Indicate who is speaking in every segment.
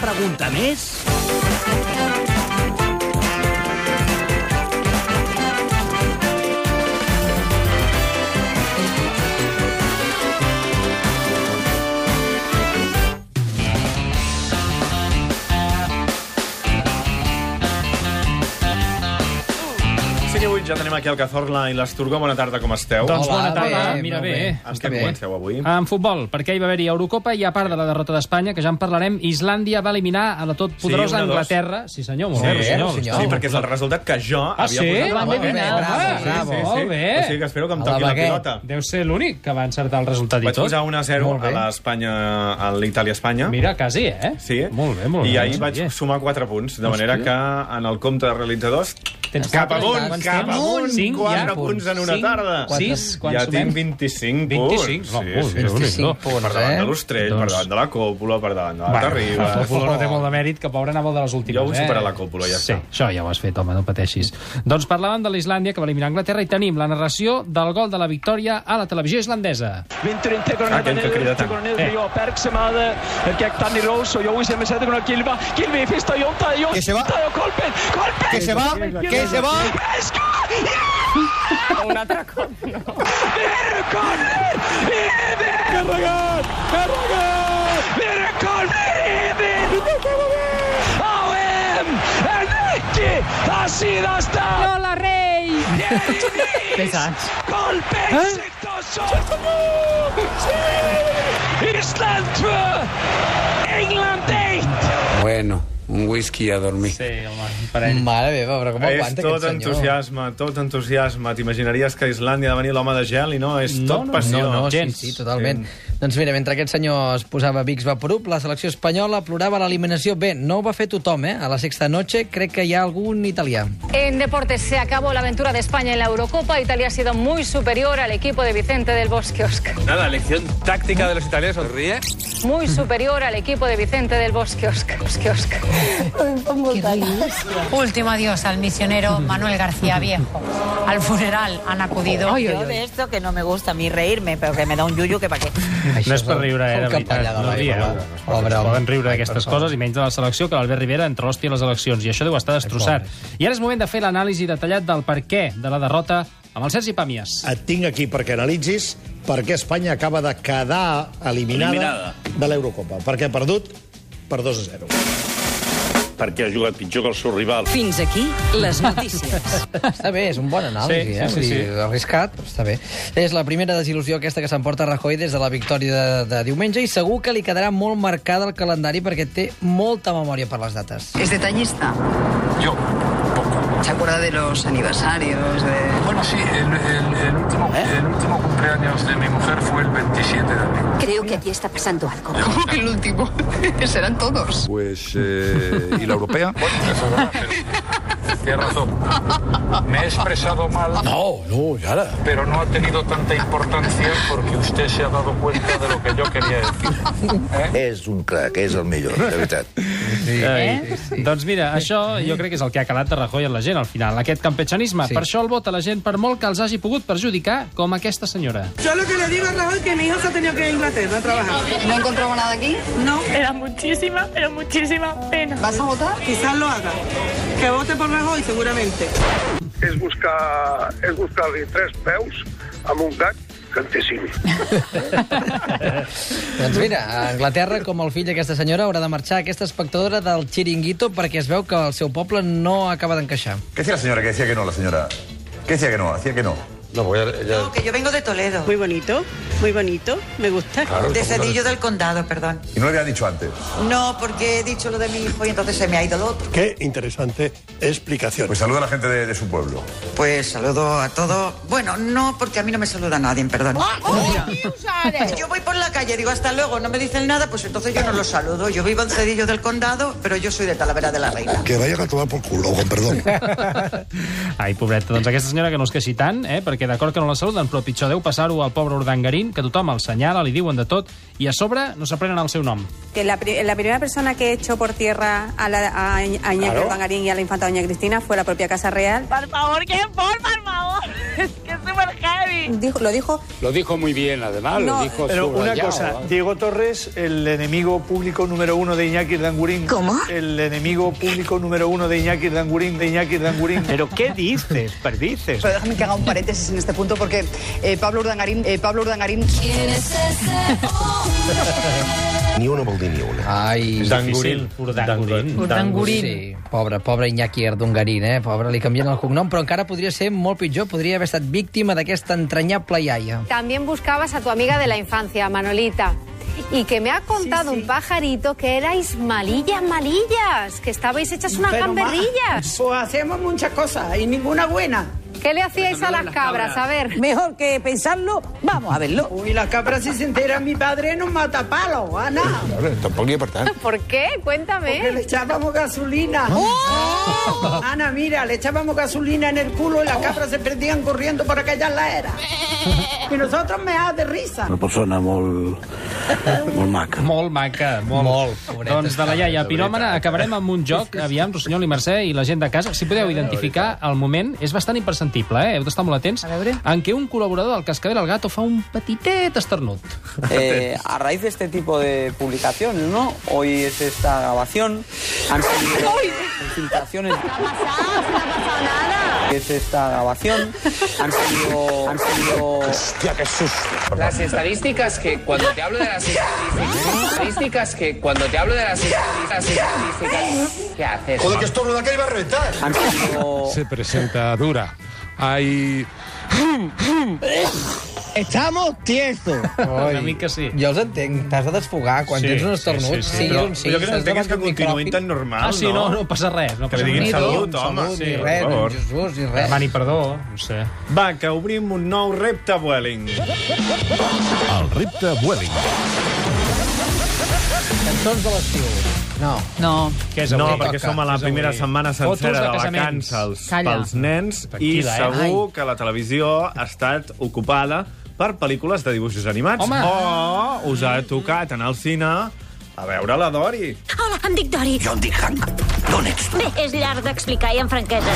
Speaker 1: pregunta més?
Speaker 2: Sí que avui ja tenim aquí el Cazorla i l'Asturgo. Bona tarda, com esteu?
Speaker 3: Doncs
Speaker 4: Hola,
Speaker 3: bona tarda.
Speaker 4: bé,
Speaker 3: Mira
Speaker 4: molt
Speaker 3: bé.
Speaker 4: bé.
Speaker 2: Amb
Speaker 4: està
Speaker 2: què
Speaker 4: bé.
Speaker 2: comenceu avui?
Speaker 3: Ah, En futbol, perquè hi va haver-hi Eurocopa i a part de la derrota d'Espanya, que ja en parlarem, Islàndia va eliminar a la tot poderosa
Speaker 2: una, dos.
Speaker 3: Anglaterra. Sí, senyor, molt
Speaker 2: Sí,
Speaker 3: bé,
Speaker 2: eh,
Speaker 3: Rossinyol.
Speaker 4: Rossinyol.
Speaker 2: Sí, perquè és el resultat que jo
Speaker 3: Ah,
Speaker 2: havia
Speaker 3: sí?
Speaker 2: posat.
Speaker 3: L'han
Speaker 4: Molt bé,
Speaker 3: adivinat.
Speaker 4: bravo,
Speaker 3: Ah,
Speaker 4: bravo.
Speaker 3: sí, sí, sí. Molt bé.
Speaker 2: O sigui que espero que em
Speaker 4: A la
Speaker 2: toqui la,
Speaker 4: baguette.
Speaker 2: pilota.
Speaker 3: Deu ser l'únic que va encertar el resultat i
Speaker 2: Vaig
Speaker 3: tot.
Speaker 2: posar 1 a 0
Speaker 4: Molt
Speaker 2: a
Speaker 4: bé.
Speaker 2: l'Espanya, a l'Itàlia-Espanya.
Speaker 3: Mira, quasi, eh?
Speaker 2: Sí.
Speaker 3: Molt bé, molt bé.
Speaker 2: I ahir
Speaker 3: no
Speaker 2: vaig
Speaker 3: sabia.
Speaker 2: sumar 4 punts, de manera que en el compte de realitzadors...
Speaker 3: Tens
Speaker 2: cap
Speaker 3: quatre,
Speaker 2: amunt,
Speaker 3: quants
Speaker 2: cap
Speaker 3: tens?
Speaker 2: amunt,
Speaker 3: Cinc, ja.
Speaker 2: 4 punts en una
Speaker 3: Cinc,
Speaker 2: tarda.
Speaker 3: Sis, quan
Speaker 2: ja
Speaker 3: sumem?
Speaker 2: tinc 25 punts.
Speaker 3: 25, va,
Speaker 2: sí,
Speaker 3: molt
Speaker 2: sí,
Speaker 3: bé,
Speaker 2: sí.
Speaker 4: 25
Speaker 3: Déu-n'hi-do.
Speaker 2: Per
Speaker 4: punts,
Speaker 2: davant de
Speaker 4: eh?
Speaker 2: l'Ostrell,
Speaker 3: Doncs-
Speaker 2: per davant de la Còpula, per davant de la Tarriba...
Speaker 3: La còpula no té molt de mèrit, que pobre anava el de les últimes.
Speaker 2: Ja ho he superat,
Speaker 3: eh?
Speaker 2: la còpula, ja
Speaker 3: sí,
Speaker 2: està.
Speaker 3: Això ja ho has fet, home, no pateixis. Doncs parlàvem de l'Islàndia, que va eliminar Anglaterra, i tenim la narració del gol de la victòria a la televisió islandesa.
Speaker 5: Vintur inntekur hann
Speaker 2: Ah,
Speaker 5: hérna
Speaker 2: gengur
Speaker 5: niður,
Speaker 2: gríðarlega.
Speaker 5: tekur hann niður fyrir Jóa Berg sem að eh, er gegn Danny Rose og Jói sem er setur hann á Gilva Gilvi í fyrsta, Jón Dæði, Jón
Speaker 4: Que se va.
Speaker 5: Dæði og Kolbeinn Kolbeinn!
Speaker 4: Que se va, que se va.
Speaker 5: Eska! Un altre cop, no. Við erum komnir yfir! Við erum komnir yfir! Á EM! En ekki það síðasta!
Speaker 3: Lola Rei!
Speaker 5: Nélís Kolbeinn Sigþórsson Ísland 2 England 1
Speaker 6: Bueno, un whisky a dormir.
Speaker 3: Sí, home, un parell.
Speaker 4: Mare meva, però com
Speaker 2: És
Speaker 4: aguanta
Speaker 2: tot
Speaker 4: aquest senyor?
Speaker 2: entusiasme, tot entusiasme. T'imaginaries que a Islàndia ha de venir l'home de gel i no, és
Speaker 3: No,
Speaker 2: tot
Speaker 3: no,
Speaker 2: passió.
Speaker 4: No, no, sí,
Speaker 3: gens.
Speaker 4: sí, totalment. Doncs mira, mentre aquest senyor es posava Vicks Vaporub, la selecció espanyola plorava l'eliminació. Bé, no ho va fer tothom, eh? A la sexta noche crec que hi ha algun italià.
Speaker 7: En deportes se acabó la aventura de España en la Eurocopa. Italia ha sido muy superior al equipo de Vicente del Bosque, Oscar.
Speaker 8: Nada, lección táctica de los italianos. ¿Ríe?
Speaker 7: Muy superior al equipo de Vicente del Bosque, Oscar. Bosque, Oscar.
Speaker 9: Último adiós al misionero Manuel García Viejo. Al funeral han acudido.
Speaker 10: Yo de esto que no me gusta a mí reírme, pero que me da un yuyu que para qué.
Speaker 3: No és per riure, eh, de veritat. No rieu.
Speaker 4: Pobre
Speaker 3: Es poden
Speaker 4: home.
Speaker 3: riure d'aquestes coses i menys de la selecció, que l'Albert Rivera entra hòstia a les eleccions, i això deu estar destrossat. I ara és moment de fer l'anàlisi detallat del per què de la derrota amb el Sergi Pàmies.
Speaker 11: Et tinc aquí perquè analitzis per què Espanya acaba de quedar eliminada,
Speaker 8: Eliminada.
Speaker 11: de l'Eurocopa, perquè ha perdut per 2 a 0.
Speaker 8: Perquè ha jugat pitjor que el seu rival.
Speaker 10: Fins aquí les notícies.
Speaker 4: Està bé, és un bon anàlisi,
Speaker 3: Sí,
Speaker 4: eh?
Speaker 3: sí, sí,
Speaker 4: Vull dir, Arriscat, però està bé. És la primera desil·lusió aquesta que s'emporta Rajoy des de la victòria de, de diumenge i segur que li quedarà molt marcada el calendari perquè té molta memòria per les dates.
Speaker 9: ¿Es detallista?
Speaker 8: Yo, poco.
Speaker 9: ¿Se acuerda de los aniversarios? De...
Speaker 8: Bueno, sí, el, el- el último, el último cumpleaños de mi mujer fue el 27 de abril.
Speaker 10: Creo que aquí está pasando algo.
Speaker 9: ¿Cómo que el último? Serán todos.
Speaker 6: Pues,
Speaker 11: eh,
Speaker 6: ¿y la europea?
Speaker 8: Bueno, eso es verdad, pero tienes razón. Me he expresado mal.
Speaker 6: No, no, ya la.
Speaker 8: Pero no ha tenido tanta importancia porque usted se ha dado cuenta de lo que yo quería decir.
Speaker 6: És un crac, és el millor, de veritat.
Speaker 3: Eh? Sí. Doncs mira, això jo crec que és el que ha calat de Rajoy en la gent al final, aquest campechanisme. Sí. Per això el vota la gent, per molt que els hagi pogut perjudicar, com aquesta senyora.
Speaker 5: Yo lo que le digo a Raúl es que mi hijo se ha tenido que ir a Inglaterra a trabajar.
Speaker 9: ¿No encontramos nada aquí?
Speaker 5: Era muchísima, era muchísima pena.
Speaker 9: ¿Vas a votar?
Speaker 5: Quizás lo haga. Que vote por Rajoy seguramente.
Speaker 8: És buscar, és buscar-li tres peus amb un gat que en té cinc.
Speaker 4: Doncs mira, a Anglaterra, com el fill d'aquesta senyora, haurà de marxar aquesta espectadora del Chiringuito perquè es veu que el seu poble no acaba d'encaixar.
Speaker 6: Què decía la senyora? Que decía que no, la senyora. Què decía que no? Hacía que no. No, voy a...
Speaker 10: Que yo vengo de Toledo,
Speaker 5: Muy bonito, muy bonito, me gusta.
Speaker 10: de Cedillo del Condado, perdón.
Speaker 6: Y no le habían dicho antes.
Speaker 10: No, porque he dicho lo de mi hijo y entonces se me ha ido lo otro.
Speaker 11: Que interesante explicació.
Speaker 6: Pues saluda a la gente de, de su pueblo.
Speaker 10: Pues saludo a todos. Bueno, no, porque a mí no me saluda nadie, perdón.
Speaker 9: Ah.
Speaker 10: Yo voy por la calle, digo hasta luego, no me dicen nada, pues entonces yo no los saludo. Yo vivo en Cedillo del Condado, pero yo soy de Talavera de la Reina.
Speaker 11: Que vayan a tomar por culo, con perdón.
Speaker 3: Ai, pobreta, doncs aquesta senyora que no es queixi tant, eh? perquè d'acord que no la saluden, però pitjor deu passar-ho al pobre Urdangarín, que tothom el senyala, li diuen de tot, i a sobre no s'aprenen el seu nom.
Speaker 5: Que la, primera persona que echó por tierra a, la, a, Iñaki y a la infanta Doña Cristina fue la propia Casa Real.
Speaker 7: Por favor, que por favor. Es que es súper heavy.
Speaker 1: dijo- lo dijo
Speaker 12: Lo dijo muy bien, además,
Speaker 1: No.
Speaker 12: lo dijo
Speaker 13: Pero una
Speaker 12: subrayado,
Speaker 13: cosa,
Speaker 12: ¿eh?
Speaker 13: Diego Torres, el enemigo público número uno de Iñaki Dangurín. ¿Cómo? El enemigo público número uno de Iñaki Dangurín, de Iñaki Dangurín. ¿Pero qué dices? Perdices.
Speaker 14: Pero déjame que haga un paréntesis en este punto porque eh, Pablo Urdangarín, eh, Pablo Urdangarín.
Speaker 4: Ni una vol dir ni una. Ai,
Speaker 2: Dangurín.
Speaker 4: Urdangurin.
Speaker 2: Urdangurin.
Speaker 4: Sí, pobre, pobre Iñaki Erdongarín, eh? Pobre, li canvien el cognom, però encara podria ser molt pitjor, podria haver estat víctima d'aquesta entranyable iaia.
Speaker 15: También buscabas a tu amiga de la infancia, Manolita. Y que me ha contado un pajarito que erais malillas, malillas, que estabais hechas unas
Speaker 16: Pero, ma,
Speaker 15: gamberrillas.
Speaker 16: Pues hacemos muchas cosas y ninguna buena.
Speaker 15: ¿Qué le hacíais a las cabras? A ver.
Speaker 16: Mejor que pensarlo, vamos a verlo. Uy, las cabras si se enteran, mi padre nos mata palo, Ana.
Speaker 12: Claro, Tampoc hi ha per tant.
Speaker 15: ¿Por qué? Cuéntame.
Speaker 16: Porque le echábamos gasolina. Ana, mira, le echábamos gasolina en el culo y las cabras se perdían corriendo por aquella era. Y nosotros me de risa.
Speaker 17: Una persona molt, molt maca.
Speaker 3: Molt maca, molt. molt doncs de la iaia piròmana acabarem amb un joc, aviam, Rossinyol i Mercè i la gent de casa. Si podeu identificar el moment, és bastant imperceptible, eh? heu d'estar molt atents, en què un col·laborador del Cascabel al Gato fa un petitet esternut.
Speaker 18: Eh, a raíz de este tipo de publicaciones, ¿no? Hoy es esta grabación. Han salido filtraciones. Hoy Es esta grabación. Han salido. Han salido. Hostia, qué susto.
Speaker 19: Las estadísticas que cuando te hablo de las estadísticas, estadísticas que cuando te hablo de las estadísticas, estadísticas, ¿qué haces?
Speaker 18: Joder, que
Speaker 19: estornuda aquel va a reventar.
Speaker 18: Han salido.
Speaker 12: Se presenta dura. Hay...
Speaker 4: Estamos tiesos. Una
Speaker 3: mica sí.
Speaker 4: Jo els entenc, t'has de desfogar quan
Speaker 2: Sí,
Speaker 4: tens un
Speaker 2: sí, sí,
Speaker 4: esternut.
Speaker 2: sí.
Speaker 4: sí,
Speaker 2: Però-
Speaker 4: un sí,
Speaker 2: però jo crec que
Speaker 4: estàs
Speaker 2: entenc
Speaker 4: davant
Speaker 2: que
Speaker 4: d'un
Speaker 2: continuïn
Speaker 4: micròfon.
Speaker 2: tan normal,
Speaker 3: Ah, sí, no, no passa res. No
Speaker 2: Que
Speaker 3: passa
Speaker 2: li diguin
Speaker 3: res.
Speaker 2: salut, home,
Speaker 4: salut,
Speaker 2: sí,
Speaker 4: ni
Speaker 2: per
Speaker 4: res, ni
Speaker 2: favor.
Speaker 4: Jesús, ni res.
Speaker 3: Demani perdó, no sé.
Speaker 20: Ah,
Speaker 2: Va, que obrim un nou repte, Vueling.
Speaker 21: El repte Vueling.
Speaker 4: Cançons de l'estiu. No.
Speaker 2: No.
Speaker 3: Què és
Speaker 2: no,
Speaker 3: avui?
Speaker 2: perquè
Speaker 3: Toca.
Speaker 2: som a la
Speaker 3: Què és
Speaker 2: primera
Speaker 3: avui?
Speaker 2: setmana
Speaker 3: Fotos de
Speaker 2: sencera de
Speaker 3: casaments.
Speaker 2: vacances
Speaker 3: Calla.
Speaker 2: pels nens
Speaker 3: Tranquila,
Speaker 2: i
Speaker 3: eh?
Speaker 2: segur que la televisió ha estat ocupada per pel·lícules de dibuixos animats.
Speaker 22: Home.
Speaker 2: O us ha tocat anar al cine a veure la Dori.
Speaker 22: Hola, em dic Dori. Jo em dic Hank. D'on ets? Bé, és llarg d'explicar i amb franquesa.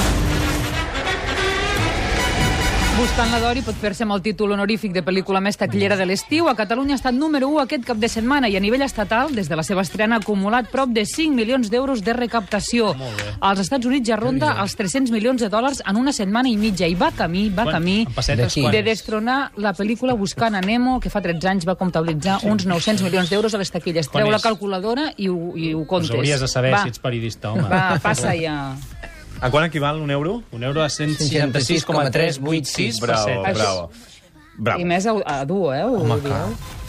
Speaker 20: Buscant la Dori pot fer-se amb el títol honorífic de pel·lícula més taquillera de l'estiu. A Catalunya ha estat número 1 aquest cap de setmana i a nivell estatal, des de la seva estrena, ha acumulat prop de 5 milions d'euros de recaptació. Als Estats Units ja ronda els 300 milions de dòlars en una setmana i mitja i va camí, va
Speaker 3: Quan-
Speaker 20: camí
Speaker 3: en pessetes,
Speaker 20: de,
Speaker 3: quan
Speaker 20: de
Speaker 3: és?
Speaker 20: destronar la pel·lícula Buscant a Nemo, que fa 13 anys va comptabilitzar uns 900 milions d'euros a les taquilles.
Speaker 3: Quan
Speaker 20: Treu la
Speaker 3: és?
Speaker 20: calculadora i ho, i ho comptes.
Speaker 3: Doncs hauries de saber
Speaker 20: va,
Speaker 3: si ets periodista, home.
Speaker 20: Va, passa ja.
Speaker 2: A quant equival un euro?
Speaker 3: Un euro a 166,386 per
Speaker 2: Bravo,
Speaker 20: set.
Speaker 2: bravo. Bravo.
Speaker 20: I més a, a dur, eh? Ho Home,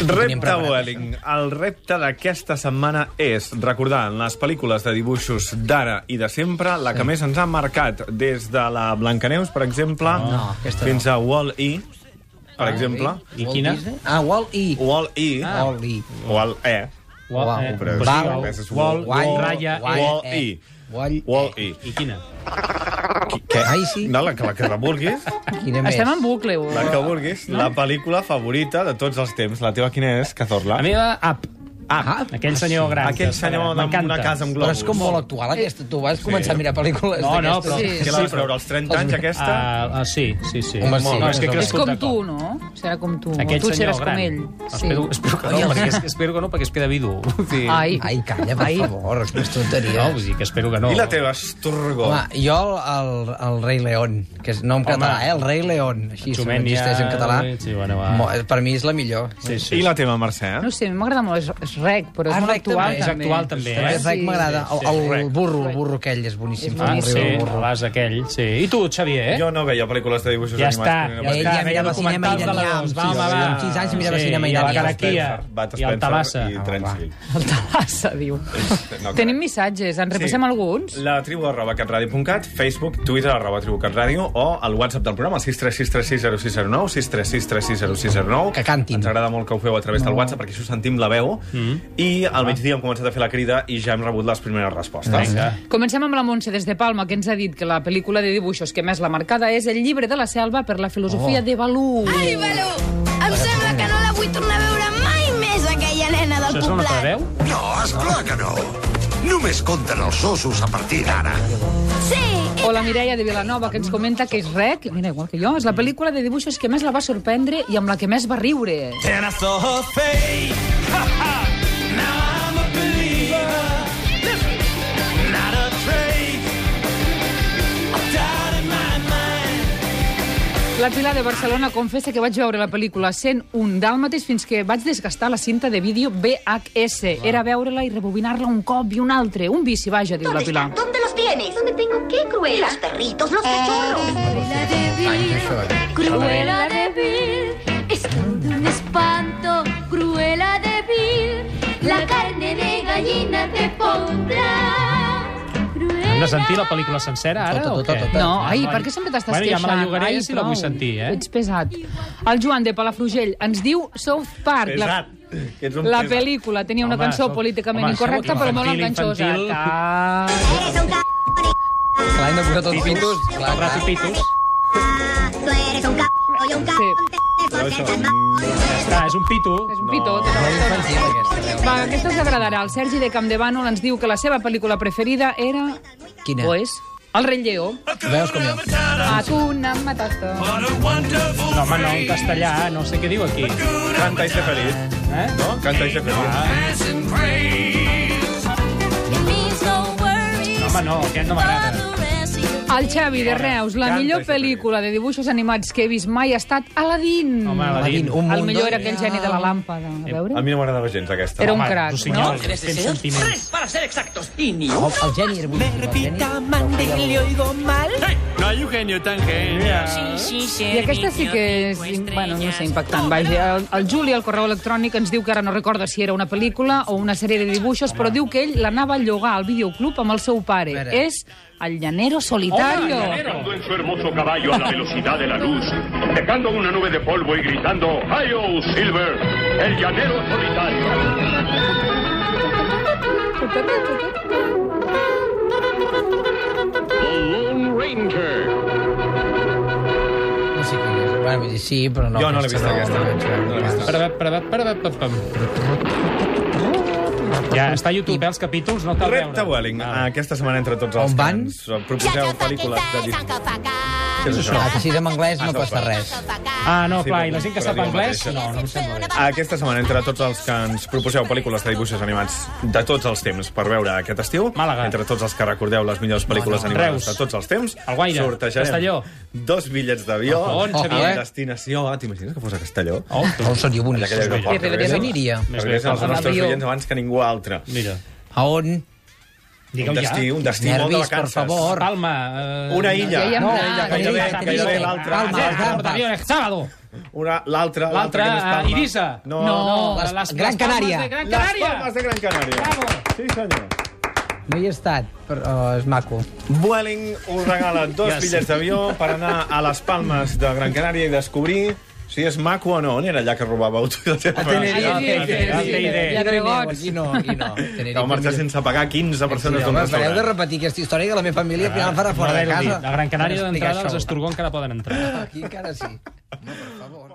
Speaker 2: Repte Welling. El repte d'aquesta setmana és recordar en les pel·lícules de dibuixos d'ara i de sempre la que més ens ha marcat, des de la Blancaneus, per exemple,
Speaker 4: Ah, No, aquesta no.
Speaker 2: fins a Wall-E, per
Speaker 4: Ah,
Speaker 2: exemple.
Speaker 4: Wall-E? I quina? Ah, Wall-E.
Speaker 2: Wall-E.
Speaker 4: Ah. Wall-E.
Speaker 2: Wall-E.
Speaker 3: Eh,
Speaker 4: Wall-E.
Speaker 2: Però és-
Speaker 4: Val-
Speaker 2: és- és
Speaker 4: Wall- Wall-
Speaker 2: Raya,
Speaker 4: Wall-
Speaker 2: Wall-E.
Speaker 4: Wall-E.
Speaker 2: Wall-E.
Speaker 3: I quina?
Speaker 2: Què? Ai, sí. No, la, que- la que la vulguis.
Speaker 20: Quina Estem en bucle. eh? O...
Speaker 2: La que vulguis, la pel·lícula favorita de tots els temps. La teva quina és, Cazorla?
Speaker 3: La meva app.
Speaker 2: Ah,
Speaker 3: aquell senyor gran.
Speaker 2: Aquell
Speaker 3: que
Speaker 2: senyor
Speaker 3: està-
Speaker 2: amb una
Speaker 3: M'encanta.
Speaker 2: casa amb globus.
Speaker 4: Però és com molt actual, aquesta. Tu vas començar a mirar pel·lícules
Speaker 3: No, no,
Speaker 4: d'aquestes.
Speaker 3: però...
Speaker 4: Sí.
Speaker 2: Què la vas veure, als 30 anys, aquesta?
Speaker 3: Ah, ah, sí, sí, sí.
Speaker 4: Home, sí.
Speaker 3: no, és que he
Speaker 20: És
Speaker 3: crescut
Speaker 20: com
Speaker 3: de cop.
Speaker 20: tu, no? Serà com tu.
Speaker 3: Aquell
Speaker 20: tu
Speaker 3: senyor
Speaker 20: seràs
Speaker 3: gran.
Speaker 20: com ell.
Speaker 3: Espero, espero que no, perquè, es- espero que no, perquè es queda vidu. Sí.
Speaker 20: Ai.
Speaker 4: Ai, calla, per
Speaker 20: Ai.
Speaker 4: favor, quines tonteries.
Speaker 3: No, vull dir que espero que no.
Speaker 2: I la teva, Esturgo?
Speaker 4: Home, jo el, el, el Rei León, que és nom
Speaker 3: Home.
Speaker 4: català, eh? El Rei León, així se
Speaker 3: Chumenia,
Speaker 4: n'existeix en català.
Speaker 3: sí, bueno, va.
Speaker 4: Mo- Per mi és la millor.
Speaker 3: Sí,
Speaker 2: I la teva, Mercè?
Speaker 20: No ho sé, a mi m'agrada molt, és, és rec, però és
Speaker 4: Ah,
Speaker 20: molt
Speaker 4: Rec
Speaker 20: actual,
Speaker 4: també.
Speaker 20: també.
Speaker 4: És actual, també, eh? El Rec m'agrada. El- el burro, el burro aquell és boníssim.
Speaker 20: És
Speaker 4: Fa
Speaker 3: Ah,
Speaker 4: molt riure
Speaker 3: sí,
Speaker 4: el burro.
Speaker 3: l'as aquell, sí. I tu, Xavier, eh?
Speaker 2: Jo no veia pel·lícules de dibuixos
Speaker 3: Ja
Speaker 2: animats.
Speaker 3: està,
Speaker 2: quan era
Speaker 3: ja
Speaker 2: petit.
Speaker 3: està, veia documentals de la dos. Va, home, va.
Speaker 4: amb 15 anys mirava
Speaker 3: Sí,
Speaker 4: cinema
Speaker 3: i la
Speaker 4: iranià.
Speaker 3: Caraquia,
Speaker 2: Bat
Speaker 3: i el Ah,
Speaker 2: Spencer
Speaker 3: Tabassa.
Speaker 2: I Trenchfield.
Speaker 20: El Tabassa, diu.
Speaker 2: No,
Speaker 20: Tenim missatges, en repassem alguns?
Speaker 2: La tribu arroba catradio.cat, Facebook, Twitter arroba tribu catradio o el WhatsApp del programa, el 636360609, 636360609. Que cantin. Ens agrada molt que ho feu a través del WhatsApp perquè això sentim la veu. I al migdia hem començat a fer la crida i ja hem rebut les primeres respostes.
Speaker 20: Vinga. Comencem amb la Montse des de Palma, que ens ha dit que la pel·lícula de dibuixos que més l'ha marcada és El llibre de la selva per la filosofia
Speaker 23: Oh.
Speaker 20: de Balú.
Speaker 23: Ai, Balú, em sembla que no la vull tornar a veure mai més, aquella nena del poblat.
Speaker 3: preveu?
Speaker 23: No, esclar que no. No
Speaker 1: Només compten els ossos a partir d'ara.
Speaker 20: O la Mireia de Vilanova, que ens comenta que és rec, mira, igual que jo, és la pel·lícula de dibuixos que més la va sorprendre i amb la que més va riure.
Speaker 5: And I saw her face. Ha, ha. Now I'm a believer. Listen. Not a trace of doubt in my mind.
Speaker 20: La Pilar de Barcelona confessa que vaig veure la pel·lícula sent un dàlmatis fins que vaig desgastar la cinta de vídeo VHS. Era veure-la i rebobinar-la un cop i un altre. Un vici, vaja, diu la Pilar.
Speaker 23: ¿Dónde los tienes? ¿Dónde tengo qué, Cruella? Los perritos, los cachorros. Cruella de Vil, Cruella de Vil, es todo un espanto. Cruella de Vil, la carne de gallina te pondrà.
Speaker 3: Hem de sentir la pel·lícula sencera, ara, o què?
Speaker 20: No, ai, per què sempre t'estàs
Speaker 3: bueno,
Speaker 20: queixant?
Speaker 3: Ja me la llogaré
Speaker 20: Ai,
Speaker 3: si la
Speaker 20: prou.
Speaker 3: vull sentir, eh?
Speaker 20: Ets pesat. El Joan de Palafrugell ens diu South Park.
Speaker 3: Pesat.
Speaker 2: Que ets
Speaker 20: La,
Speaker 2: un
Speaker 20: la
Speaker 2: pesat.
Speaker 20: pel·lícula tenia una
Speaker 2: Home,
Speaker 20: cançó
Speaker 2: sou-
Speaker 20: políticament
Speaker 2: home,
Speaker 20: incorrecta,
Speaker 2: sou
Speaker 20: però molt
Speaker 2: infantil,
Speaker 20: enganxosa.
Speaker 2: infantil.
Speaker 20: Eres un
Speaker 4: Clar, hem de posar tots
Speaker 3: Pitus.
Speaker 4: pitus. Clar, clar.
Speaker 3: Pitus.
Speaker 23: Tú eres un c****** y un c******
Speaker 3: Està, és un pito. És
Speaker 20: un pito, tota
Speaker 4: Molt infantil, aquesta.
Speaker 20: Va, aquesta us agradarà. El Sergi de Campdevànol ens diu que la seva pel·lícula preferida era...
Speaker 4: Quina?
Speaker 20: O és? El rei Lleó.
Speaker 4: Veus com jo.
Speaker 20: A tu una matata.
Speaker 3: No, home, no, en castellà, no sé què diu aquí.
Speaker 2: Canta i ser feliç.
Speaker 3: Eh?
Speaker 2: No? Canta i ser feliç.
Speaker 3: No, home, no, aquest no m'agrada.
Speaker 20: El Xavi de Reus, la
Speaker 3: Canta,
Speaker 20: millor
Speaker 3: això
Speaker 20: pel·lícula de dibuixos animats que he vist mai ha estat Aladdin.
Speaker 3: Home, Aladdin.
Speaker 20: Un el
Speaker 3: mundo
Speaker 20: millor era
Speaker 3: de-
Speaker 20: aquell geni de la làmpada. A veure?
Speaker 2: A mi no m'agradava gens, aquesta.
Speaker 20: Era un crac,
Speaker 2: Rossinyol,
Speaker 20: no?
Speaker 2: tens sentiments.
Speaker 5: Para ser exactos. Y ni
Speaker 4: No, el geni era boníssim. el geni.
Speaker 5: mande, le oigo mal. No hay un genio tan genial.
Speaker 20: I aquesta sí que és, bueno, no sé, impactant. Vaja, el, el Juli, al correu electrònic, ens diu que ara no recorda si era una pel·lícula o una sèrie de dibuixos, però diu que ell l'anava a llogar al videoclub amb el seu pare. És el llanero solitario.
Speaker 8: en su hermoso caballo a la velocidad de la luz, dejando una nube de polvo y gritando "Hi-yo, Silver! ¡El llanero solitario!
Speaker 4: No sé quina és. Bueno, vull dir, sí, però no.
Speaker 2: Jo no l'he vista, aquesta. No l'he vista.
Speaker 3: Para, para, para, para, Ja, està a YouTube, eh, els capítols, no cal
Speaker 2: Repte
Speaker 3: veure.
Speaker 2: Welling. Aquesta setmana entre tots els que ens proposeu pel·lícules de disc. Què és això?
Speaker 4: Ah, que si és en anglès
Speaker 2: Ah,
Speaker 4: no passa res.
Speaker 3: Ah, no,
Speaker 2: Sí,
Speaker 3: clar, i
Speaker 2: però-
Speaker 3: la gent que
Speaker 2: però
Speaker 3: sap
Speaker 2: diu el
Speaker 3: anglès,
Speaker 2: mateix.
Speaker 3: no, no em sembla bé.
Speaker 2: Aquesta setmana, entre tots els que ens proposeu pel·lícules de dibuixos animats de tots els temps per veure aquest estiu, Màlaga. entre tots els que recordeu les millors pel·lícules
Speaker 3: No, no.
Speaker 2: animades
Speaker 3: Reus.
Speaker 2: de tots els temps,
Speaker 3: El Guaire.
Speaker 2: sortejarem
Speaker 3: Castelló.
Speaker 2: dos bitllets d'avió
Speaker 3: Oh, on,
Speaker 2: amb
Speaker 3: Xavier?
Speaker 2: destinació... Ah, t'imagines que fos a Castelló?
Speaker 3: Oh,
Speaker 4: Oh, seria bonic.
Speaker 2: En aquell aeroport.
Speaker 4: Jo aniria.
Speaker 2: Més bé, els
Speaker 4: amb
Speaker 2: nostres
Speaker 4: avió.
Speaker 2: oients abans que ningú altre.
Speaker 3: Mira.
Speaker 4: A on?
Speaker 2: Un destí, un destí molt de
Speaker 4: Nervis, per
Speaker 2: vacances.
Speaker 4: favor.
Speaker 3: Palma. Eh...
Speaker 2: Una illa.
Speaker 3: ja hi hem
Speaker 2: No,
Speaker 3: anat.
Speaker 2: una illa, gairebé-
Speaker 3: Palma,
Speaker 2: gairebé
Speaker 3: Palma,
Speaker 2: l'altra.
Speaker 3: Palma,
Speaker 2: L'altra.
Speaker 3: Palma. Sábado.
Speaker 2: Una- L'altra,
Speaker 3: L'altra,
Speaker 2: que no és Palma.
Speaker 3: eh, Eivissa.
Speaker 2: No,
Speaker 3: No,
Speaker 2: no.
Speaker 3: les- Gran
Speaker 2: Palmes
Speaker 3: Canària.
Speaker 2: de Gran
Speaker 3: Les
Speaker 2: Canària.
Speaker 3: Palmes
Speaker 2: de Gran Canària. Sí, senyor.
Speaker 4: No hi he estat, però oh, és maco.
Speaker 2: Vueling us regala dos
Speaker 4: Ja sé.
Speaker 2: bitllets d'avió per anar a les Palmes de Gran Canària i descobrir si és maco o no. On era allà que robàveu tu la teva?
Speaker 4: Tenerife.
Speaker 2: Ah,
Speaker 4: A Tenerife.
Speaker 2: Tenerife.
Speaker 4: Ja no hi aneu, Aquí no, aquí no. Tenerife.
Speaker 2: Vau marxar sense pagar 15 persones d'un
Speaker 4: Home, pareu de
Speaker 2: restaurant.
Speaker 4: repetir aquesta història que la meva família al final farà fora de
Speaker 3: Haver-ho
Speaker 4: casa.
Speaker 3: dit. A Gran Canària
Speaker 4: Per
Speaker 3: d'entrada
Speaker 4: explicar
Speaker 3: els
Speaker 4: això.
Speaker 3: Esturgó encara poden entrar.
Speaker 4: Aquí encara sí. Home, per favor.